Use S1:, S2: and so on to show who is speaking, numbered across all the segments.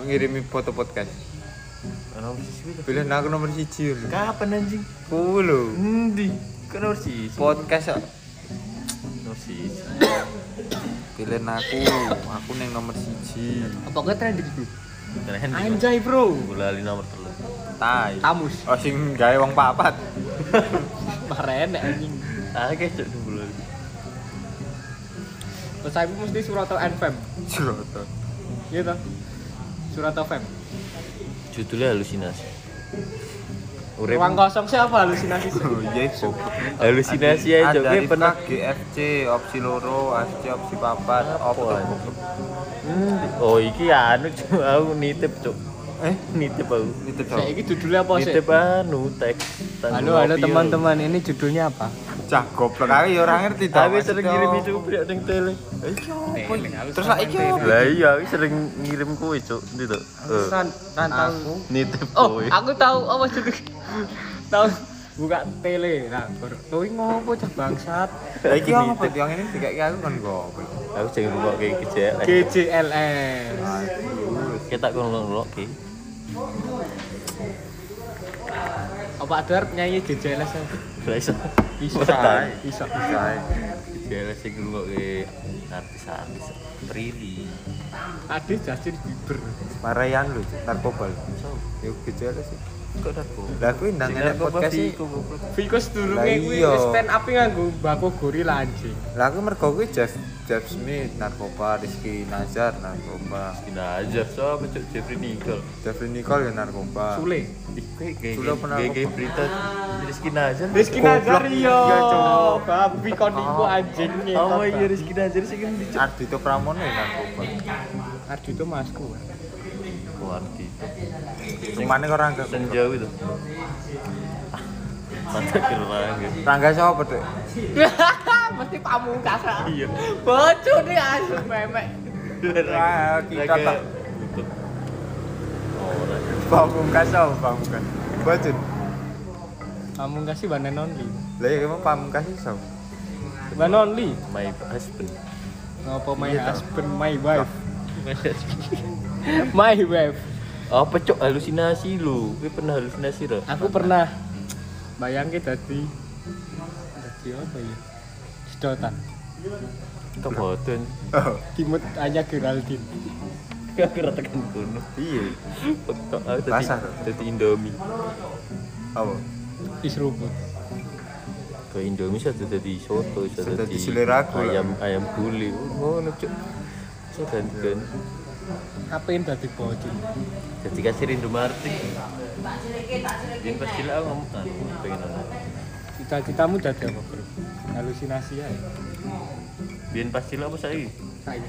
S1: mengirimi foto podcast.
S2: Nomor siji kuwi.
S1: Pilih aku nomor siji. lho.
S2: Kapan anjing?
S1: Ku lho.
S2: Endi? Kok nomor siji?
S1: Podcast kok.
S2: Nomor siji.
S1: Pilih aku, aku neng nomor siji.
S3: Apa gue trending bro?
S2: Keren.
S3: Anjay bro.
S2: Gue lali kan nomor telu.
S1: Tai.
S3: Tamus.
S1: Oh sing gawe wong papat.
S3: Maren ya, anjing.
S2: Ah, guys, cok dulu.
S3: Terus saya mesti Suroto and Fam.
S1: Jroto.
S3: Gitu. Suroto Fam.
S2: Judulnya halusinasi. Urip.
S3: Ruang kosong siapa halusinasi?
S1: Oh, iya, Bob.
S2: Halusinasi
S1: Ada
S2: ya, cok. Gue
S1: di
S2: pernah
S1: Pak GFC opsi loro, AFC opsi papat, opto.
S2: anjing? Oh, iki anu cok, aku nitip cok.
S1: Eh,
S2: Nitip aku.
S1: nitip
S3: Saya
S1: dong.
S3: ini judulnya apa sih?
S2: Nitip anu teks. tanggung
S3: Halo halo
S2: kopi,
S3: teman-teman, ini judulnya apa?
S1: Cah goblok aku ya ora ngerti
S2: lho.
S1: tau,
S2: Aku sering
S1: maksudnya.
S2: ngirim itu pria ning tele.
S1: Iya, apa ini? Terus lah iki apa?
S2: Lah iya, aku sering ngirim kue cok. Ndi to? Eh,
S3: Rantau.
S2: Nitip
S3: Oh,
S1: iya.
S2: kue.
S3: aku tahu apa judul. Tahu buka tele. Nah, kuwi ngopo cah bangsat?
S1: Lah iki apa Bet? yang ini dikek aku kan goblok.
S2: Aku sering ngomong kayak kejek.
S3: GJLS.
S1: Aduh.
S2: Kita kurang ngomong kayak.
S3: Apa ada penyanyi GJLS?
S2: Lah iso.
S3: Bisa.
S2: Bisa.
S3: Bisa.
S1: Sai.
S2: Jelas sih gue kayak artis-artis Prilly
S3: Tadi Justin Bieber.
S1: Marayan lu, Cuk. narkoba lu. Yuk gejala sih.
S2: Kok narko?
S1: Lah aku ndang
S2: Sing
S1: enek
S2: narkoba
S1: podcast
S2: sih.
S1: iki.
S3: Viko sedurunge
S1: Lah
S3: kuwi
S1: iya.
S3: wis stand up nganggo bako gorila anjing.
S1: Lah aku mergo kuwi Jeff Jeff Smith narkoba, Rizky Nazar narkoba,
S2: Tina aja, sama Cok Jeffrey Nicole
S1: Jeffrey Nicole ya narkoba.
S3: Sule.
S1: Sule pernah
S2: Gue kayak berita Rizky Nazar
S3: Rizky
S1: Goblok.
S3: Nazar yo.
S1: Iya, Cok. Ah.
S3: Babi kon iku anjing. ngetot,
S2: Oh iya
S3: Bang.
S2: Rizky Nazar sih kan dicek
S1: Ardito Pramono ya narkoba.
S3: Ardito masku.
S2: Keluar gitu
S1: Sing mana kok Rangga?
S2: Senjauh itu Ah, Mata kira gitu
S1: Rangga sapa, Dek?
S3: Mesti pamungkas. ah.
S2: Iya
S3: Bocor nih asu memek.
S1: Wah, kita tak.
S2: Orang
S1: Pamungkas sapa pamungkas? Bocun.
S3: Pamungkas sih one and only.
S1: Lah ya emang pamungkas sih sapa?
S3: One and only.
S2: My husband
S3: Ngapa my
S1: Iya, Cok.
S3: husband, my wife.
S2: My husband
S3: My wife.
S2: Apa Cok halusinasi lu? Gue pernah halusinasi loh
S3: Aku pernah bayangin tadi tadi apa ya? Sedotan.
S2: Kebetulan
S1: Oh,
S3: Kimut aja Geraldine.
S2: Gak kira tekan kono.
S1: iya.
S2: Petok aku tadi-
S1: Basah tuh.
S2: tadi Indomie.
S1: Apa?
S3: Is rumput.
S2: Ke Indomie satu tadi soto, satu
S1: Satu
S2: tadi
S1: tadi sulir aku lah.
S2: ayam ayam gulai. Oh, ngono cuk. So gantian.
S3: Apain tadi bocil?
S2: Jadi kasir Indomaret. Yang pas cilik aku ngomong "Ah, pengen ono.
S3: Cita-citamu jadi apa bro? Halusinasi ya.
S2: Biyen pas cilik apa saiki?
S3: Saya.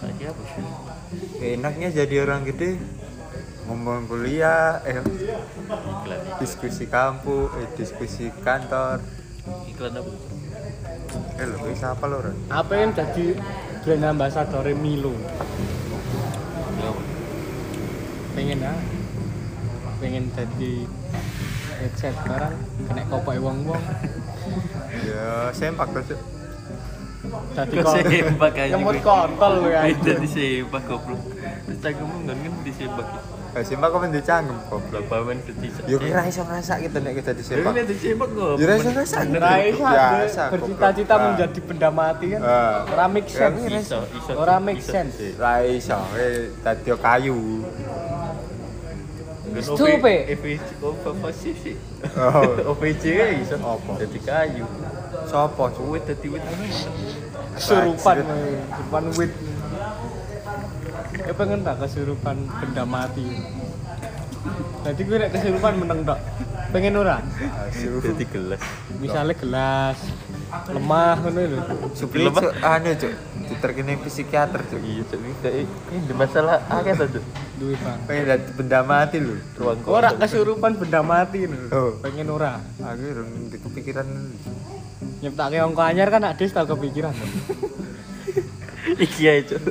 S2: Saiki apa sih?
S1: Enaknya jadi orang gede ngomong kuliah, eh
S2: Iklan.
S1: diskusi kampus, eh, diskusi kantor.
S2: Iklan apa?
S1: Eh lho, ini siapa lho, Ron?
S3: Apain jadi brand ambassador Milo?
S2: Iklan apa?
S3: Pengen ah. Pengen jadi headset barang kena kopai wong-wong.
S1: Ya, sempak tuh. Cuk.
S3: Jadi
S2: Kok
S3: kon-
S2: sempak aja
S3: Nyemut
S2: gue.
S3: kontol kan. gue
S2: Beda
S3: anjing.
S2: di sepak goblok. Terus tak ngomong kan kan di sepak.
S1: Eh, sempak kok menjadi canggung goblok.
S2: Lah paman ketiga.
S1: Yo kira iso ngerasa gitu nek kita di sempak.
S2: Ini di sepak kok.
S1: Yo iso ngerasa.
S3: Rai
S1: Biasa,
S3: sadar bercita-cita
S1: goblok.
S3: menjadi benda mati kan.
S1: Ah.
S3: Ora make
S1: Ya,
S3: sense.
S1: ngira
S2: iso iso
S3: Ora make
S2: iso.
S3: sense.
S1: Ra iso, eh dadi kayu.
S2: Kan
S3: Stupid.
S2: OVC OVC sih
S1: Oh,
S2: OVC ya iso
S1: Apa?
S2: dadi kayu
S1: sapa cuy?
S2: wit dadi wit anu
S3: Kesurupan,
S1: Bajir.
S3: woy. kesurupan wit. Eh pengen tak kesurupan benda mati. Nanti gue nek kesurupan meneng tok. Pengen ora?
S1: Asu.
S2: dadi gelas
S3: Misalnya gelas, lemah ngono lho.
S1: Supli
S2: Lemah.
S1: cuk, anu cuk, diterkini psikiater cuk.
S2: iya tapi kayak ini masalah akeh ta tuh
S3: Duwe bang.
S1: Pengen dadi benda mati lho.
S2: ruang
S3: Ora
S2: kosong
S3: kesurupan benda mati
S1: Oh.
S3: lho. Pengen ora?
S1: Aku rung di kepikiran.
S3: Nyiptake ongko anyar kan adis tau kepikiran.
S2: iki ae cuk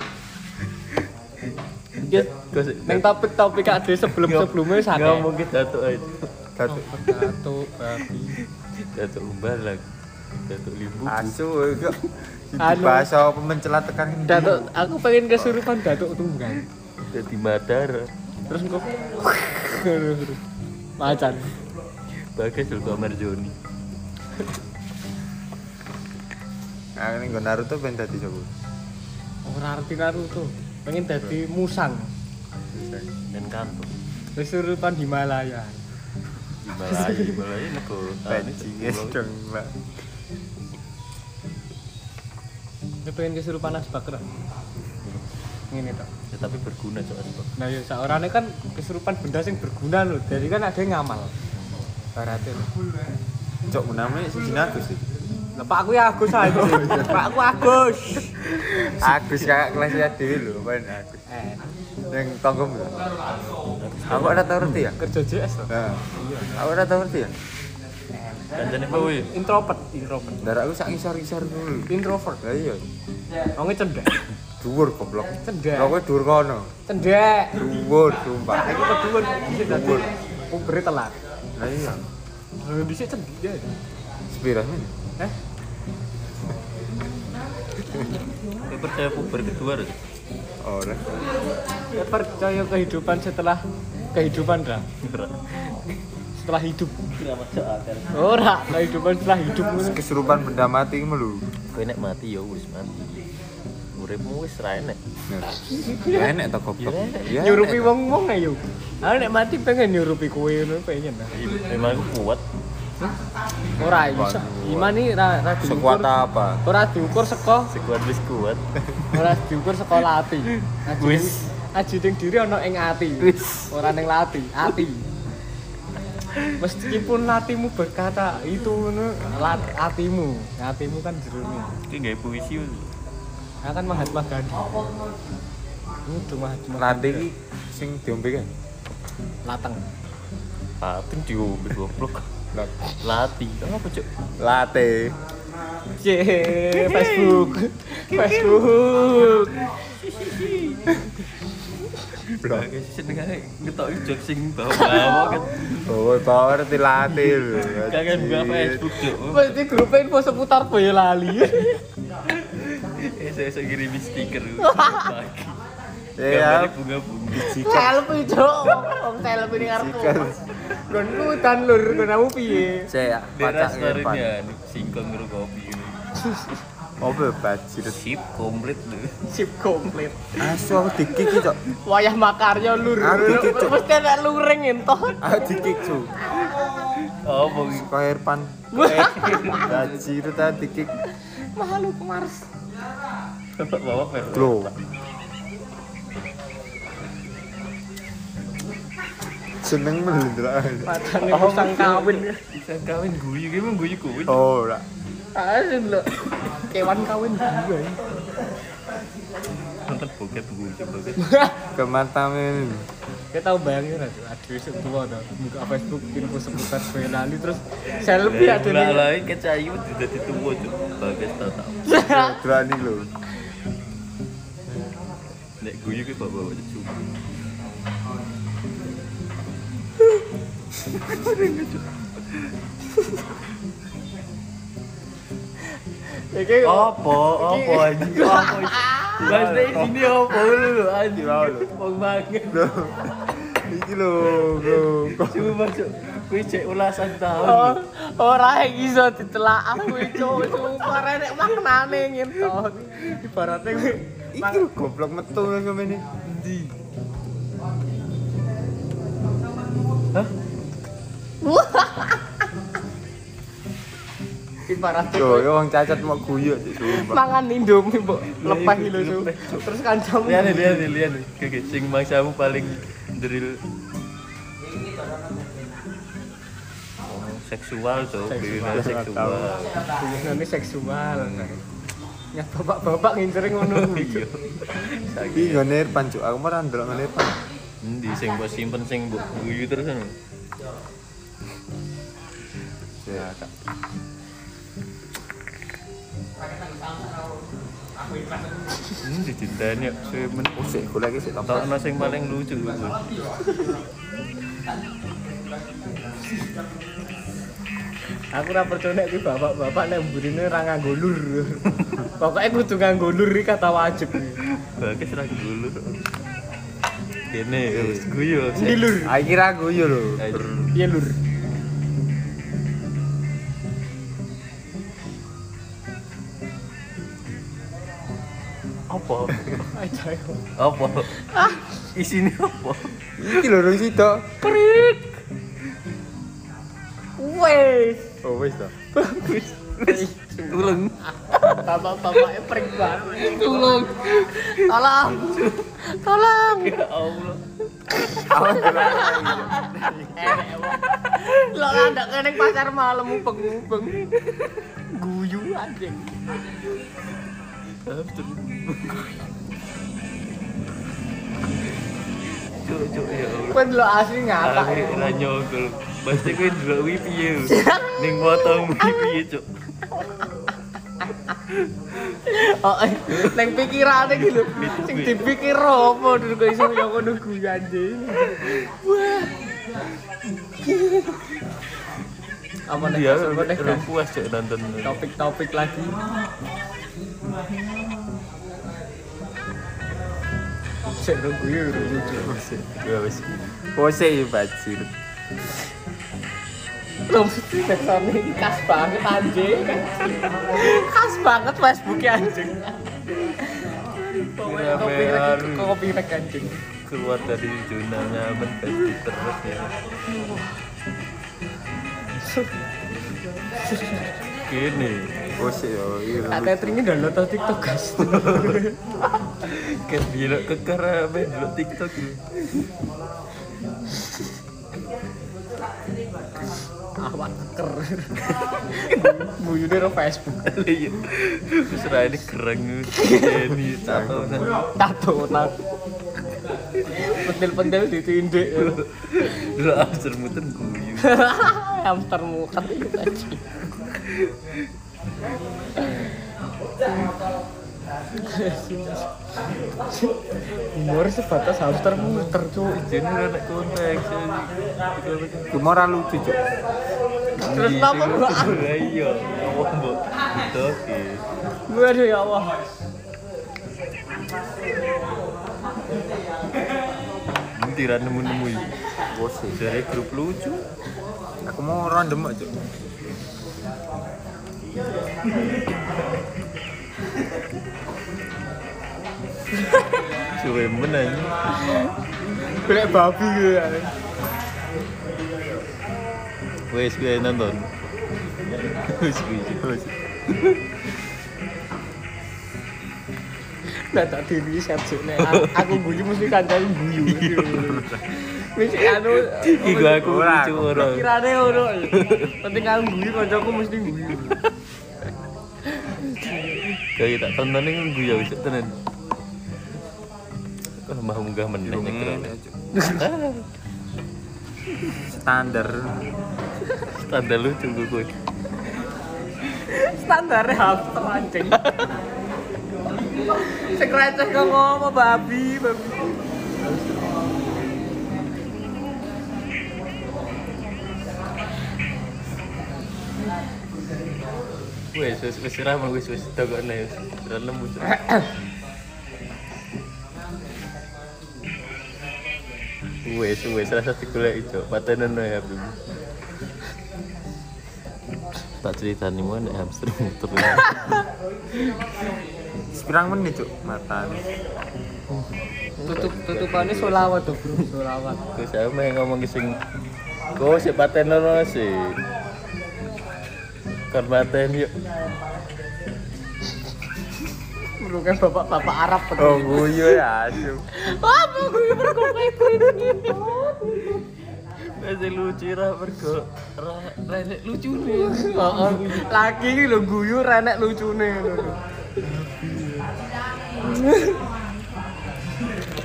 S3: Ya,
S2: Kok sih?
S3: Neng topik-topik ade sebelum-sebelumnya santai.
S2: ngomong ke datuk ae Cuk.
S1: Dadi
S3: Satu babi.
S2: datuk umbalak datuk limbu
S1: asu kok.
S3: Anu.
S1: Bahasa pemencelatekan
S3: Datuk, aku pengen kesurupan datuk tunggal.
S2: Jadi Madara.
S3: Terus engko macan.
S2: Bagas Zulka Marjoni.
S1: Nah, ini gue Naruto pengen tadi coba.
S3: Ora arti Naruto. Pengen dadi musang.
S2: Dan kantor.
S3: Kesurupan Himalaya.
S2: Himalaya, Himalaya nego.
S1: Pencinnya dong, Mbak.
S3: Dia pengen kesurupan Asbak Rek. Ngene tok.
S2: Ya, tapi berguna soal Pak.
S3: Nah ya saorane kan kesurupan benda sing berguna lho. Jadi kan ada yang ngamal. Barate lho.
S1: Cok menamanya si Jinagus sih.
S3: Lah Pak aku ya Agus aja. Pak aku Agus.
S1: Agus kakak kelas ya Dewi lho, paling Agus.
S3: Eh,
S1: Yang tonggom lho. Aku ada tau ngerti ya?
S3: kerja JS lho.
S1: Nah, aku ada tau ngerti ya?
S2: Kancane apa wih?
S3: Introvert, introvert.
S1: Darah aku sak ngisor-ngisor dulu.
S3: Introvert. e
S1: Lah iya,
S3: Wonge cendek.
S1: dhuwur goblok.
S3: Cendek.
S1: Lah kowe dhuwur kono.
S3: Cendek.
S1: Dhuwur sumpah.
S3: Aku kedua dhisik tadi. Ubere telat.
S1: Lah iya.
S3: Lah dhisik cendek. ya. Eh,
S1: Sepira men.
S3: Heh.
S2: Kayak percaya puber kedua harus.
S1: Ora.
S3: Ya, percaya kehidupan setelah kehidupan dah setelah hidup
S2: Kenapa cok akar?
S3: ora kehidupan setelah hidup
S1: Kesurupan benda mati ngono lho.
S2: Kowe nek mati ya wis mati. Uripmu wis ra enek.
S1: Nah. Ya enek to goblok. Ya,
S2: Iya,
S3: nyurupi
S1: enek to.
S3: wong wong ayo aku nek mati pengen nyurupi kowe ngono pengen ah.
S2: Memang aku kuat.
S3: ora iso iman iki ra ra diukur
S1: Sekuat apa?
S3: ora diukur seko
S2: Sekuat wis kuat.
S3: ora diukur seko lati
S2: Wis.
S3: ajuting diri ana ing ati
S2: Wis.
S3: ora ning lati ati meskipun latimu berkata itu ngono lat- atimu atimu kan jerone
S2: Iki gawe puisi wis.
S3: Nah, kan Mahatma Gandhi. Ini tuh Mahatma
S1: Nanti iki sing diombe kan.
S3: Lateng.
S2: Patung diombe goblok.
S1: Lah,
S2: Lati. Apa cok?
S1: Latte.
S3: Cie, Facebook. Facebook.
S1: Blok.
S2: Bagas senengane ngetoki eh, jok sing bawa-bawa kan.
S1: Oh, power di latte lho.
S2: Kagak buka
S1: Iya.
S2: Facebook cok.
S3: Berarti grupnya info seputar ya, Boyolali.
S2: Esok-esok kirim stiker. Pagi.
S1: Ya,
S2: Gambarnya bunga-bunga.
S3: Selfie, Cok. Om selfie ning arep. Gon udan lur, gonamu piye?
S1: saya
S2: Daerah
S1: pacak
S2: story ini
S1: ngepan.
S2: ya, ini singkong ngeru kopi ini.
S1: Apa ya, bajir?
S2: Sip, komplit tuh.
S3: Sip komplit.
S1: Asu aku dikiki, Cok.
S3: Wayah makarya lur.
S1: Aku gitu.
S3: Mesti ada luring entoh.
S1: Aku dikik, Cok.
S2: Oh, mau gitu.
S1: Square pan. Bajir tadi dikik.
S3: Makhluk Mars.
S2: Bawa per.
S1: Bro. Seneng melindra.
S3: Padane musang kawin.
S2: Bisa kawin guyu, gimana guyu kuwi?
S1: Oh, ora.
S3: Asin lho. Kewan kawin juga.
S2: Nonton bokep guyu, bokep.
S1: Kemantamin.
S3: Kita tahu bayangin aja, aduh itu tua tau Buka Facebook, info seputar gue lali terus Selfie ada
S2: Lah,
S3: nih
S2: lah, ini kecayu tidak dituwo tuh. Bagas tau tau.
S1: Berani lho.
S2: Nek guyu ki bawa-bawa cuma.
S3: Iki
S2: Apa? Apa anjing? Apa? Bahasnya ini apa lu lu anjing?
S1: Wow, lho.
S2: Wong banget.
S1: Lho. Iki lho, bro. Kok
S2: Coba cok, kuwi cek ulasan
S3: oh,
S2: tahun.
S3: Orang yang bisa ditelaah aku itu Sumpah renek maknane gitu Ibaratnya gue
S1: Iki lho goblok metu lho ngene.
S2: Di. Hah?
S3: Ibaratnya
S1: Yo,
S3: gue
S1: yo wong cacat mau guyu Cok, sumpah.
S3: Mangan indomie mbok lepeh gitu Su. Terus kancamu
S2: Lihat nih, lihat nih, lihat nih. Oke, sing mangsamu paling drill. Oh, seksual tuh,
S3: Seksual,
S2: seksual. seksual.
S1: tahu.
S3: Ini seksual Ya bapak-bapak ngincerin ngono
S2: Iya. Sakit.
S1: Iki ngene pan Cok. Aku mah ora ndelok ngene pan.
S2: Endi sing mbok simpen sing mbok guyu terus kan.
S1: Ya, Kak.
S2: Endi dicintani kok semen.
S1: Oh, sik golek iki sik tak
S2: Tokno sing paling lucu.
S3: Aku ora percaya nek iki bapak-bapak nek mburine ora nganggo lur. Pokoke kudu nganggo lur iki kata wajib.
S2: Bagus ra dulu. Kene ya wis guyu. wis.
S3: Ndi lur?
S1: Aku kira aku yo lho.
S2: Anjir.
S3: Iya lur.
S2: Apa?
S3: Ajae.
S2: Apa? Isine apa?
S1: Iki lho rung sido.
S3: Krik. Wes.
S1: Oh wis to.
S2: Tulung.
S3: Bapak-bapaknya prank banget. Tolong. Tolong. Tolong.
S2: Ya Allah.
S3: Lo ada keneng pasar malam mubeng-mubeng. Guyu anjing.
S2: Eh, Cuk cuk ya Allah.
S3: Kan lo asli ngapa?
S2: Aku ora nyogol. Pasti kowe ndelok kuwi piye? Ning motomu kuwi piye, Cuk?
S3: Oh, eh, neng pikirane iki lho. Sing dipikir apa dulu kok iso yo ngono guyu anjing. Wah. Apa nek
S2: Dia
S3: pasar meneh,
S2: ora Iya, puas Cuk nonton.
S3: topik-topik lagi. Cek lo guyu lo lucu.
S2: Ya wis.
S1: Pose iki bajir.
S3: Lo mesti besone ini khas banget anjing. Khas banget Facebooknya anjing. Pokoknya kopi rek, kopi rek anjing.
S2: Keluar dari zona nyaman pasti terus ya. Gini,
S1: Pose yo iki lho.
S3: Tak tetringnya download tau TikTok guys.
S2: kan dia kekar apa dulu TikTok ya.
S3: Awak keker. Guyune ro Facebook.
S2: Lihat, terus Rani kereng Jenny tato
S3: Tato nang. Pentil-pentil ditindik.
S2: Dulu Amster muter guyu.
S3: Hamster mukat itu anjing. Humor sebatas hamster muter cuy.
S2: Jenny ora nek konteks.
S1: Cuma ora lucu, Cuk.
S3: Terus apa, Mbak?
S2: Iya, apa mbok? Oke.
S3: Gue aduh ya Allah.
S2: Nanti ra nemu-nemu iki.
S1: Pose.
S2: Dari grup lucu.
S1: Aku mau random Cuk.
S2: Suwe menang.
S3: Golek babi gue. ya.
S2: Wes gue nonton. Wes gue.
S3: Nah tak diri sarjane. Aku guyu mesti kancane guyu. Wis anu
S2: Iku aku
S1: Ora,
S2: lucu ora.
S3: Kirane ngono. Penting aku guyu kancaku mesti guyu.
S2: Kayak tak tonton ini gue ya wis tenan. Wah, Mah munggah meneh nek
S1: Ngene,
S2: kira.
S1: Cuk. Standar.
S2: Standar lucu gue gue.
S3: Standarnya hamster anjing. Sekretes kok ngomong babi, babi.
S2: Wes wes wes ra mau wes wes dagokne wes. Ra nemu. Cuk. Wes wes rasa digolek ijo. Patenan ae habib. Tak ceritani mau nek hamster muter.
S1: Sepirang menit, Cuk? Matan.
S3: Tutup tutupannya solawat tuh, Bro. Solawat.
S2: Gue sama yang ngomong sing Gue si paten ono sih Kon paten yuk
S3: Bro kan bapak-bapak Arab. Bro.
S1: Oh, guyu ya, Cuk.
S3: Wah, Bro, guyu berkompeten.
S2: Masih lucu lah bergo Renek lucu nih
S3: Heeh. Lagi iki lho guyu renek lucune ngono lho.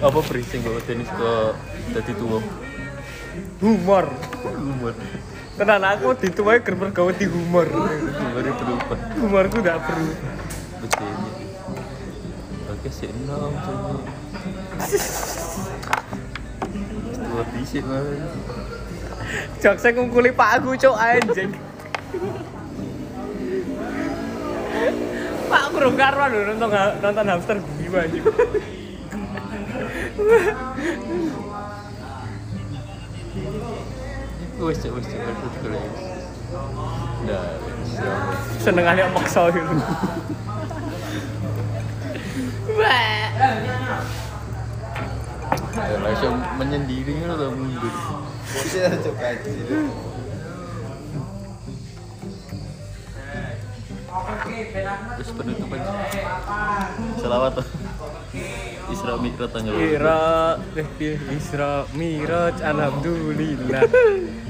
S2: Apa berising gue tenis ke Tadi tua
S3: Humor.
S2: Umur
S3: Tenan aku dituwai ger mergo di humor.
S2: Umurnya berubah
S3: Humorku ndak berubah.
S2: Betul Oke sih enam tuh Tua bisik banget
S3: Jokse ngungkuli Pak aku cok anjing. Pak aku rung karuan lho nonton nonton hamster guyu anjing.
S2: Wes cek wes cek aku dulu. Dah.
S3: Seneng aja maksa gitu.
S4: Wah.
S2: Ya langsung menyendiri ngono to mundur.
S1: Iya, coba aja.
S2: Terus penutupan. Selawat tuh. Isra
S3: Iya,
S2: Mikraj tanggal.
S3: Ira, eh, Isra, Miraj, Alhamdulillah.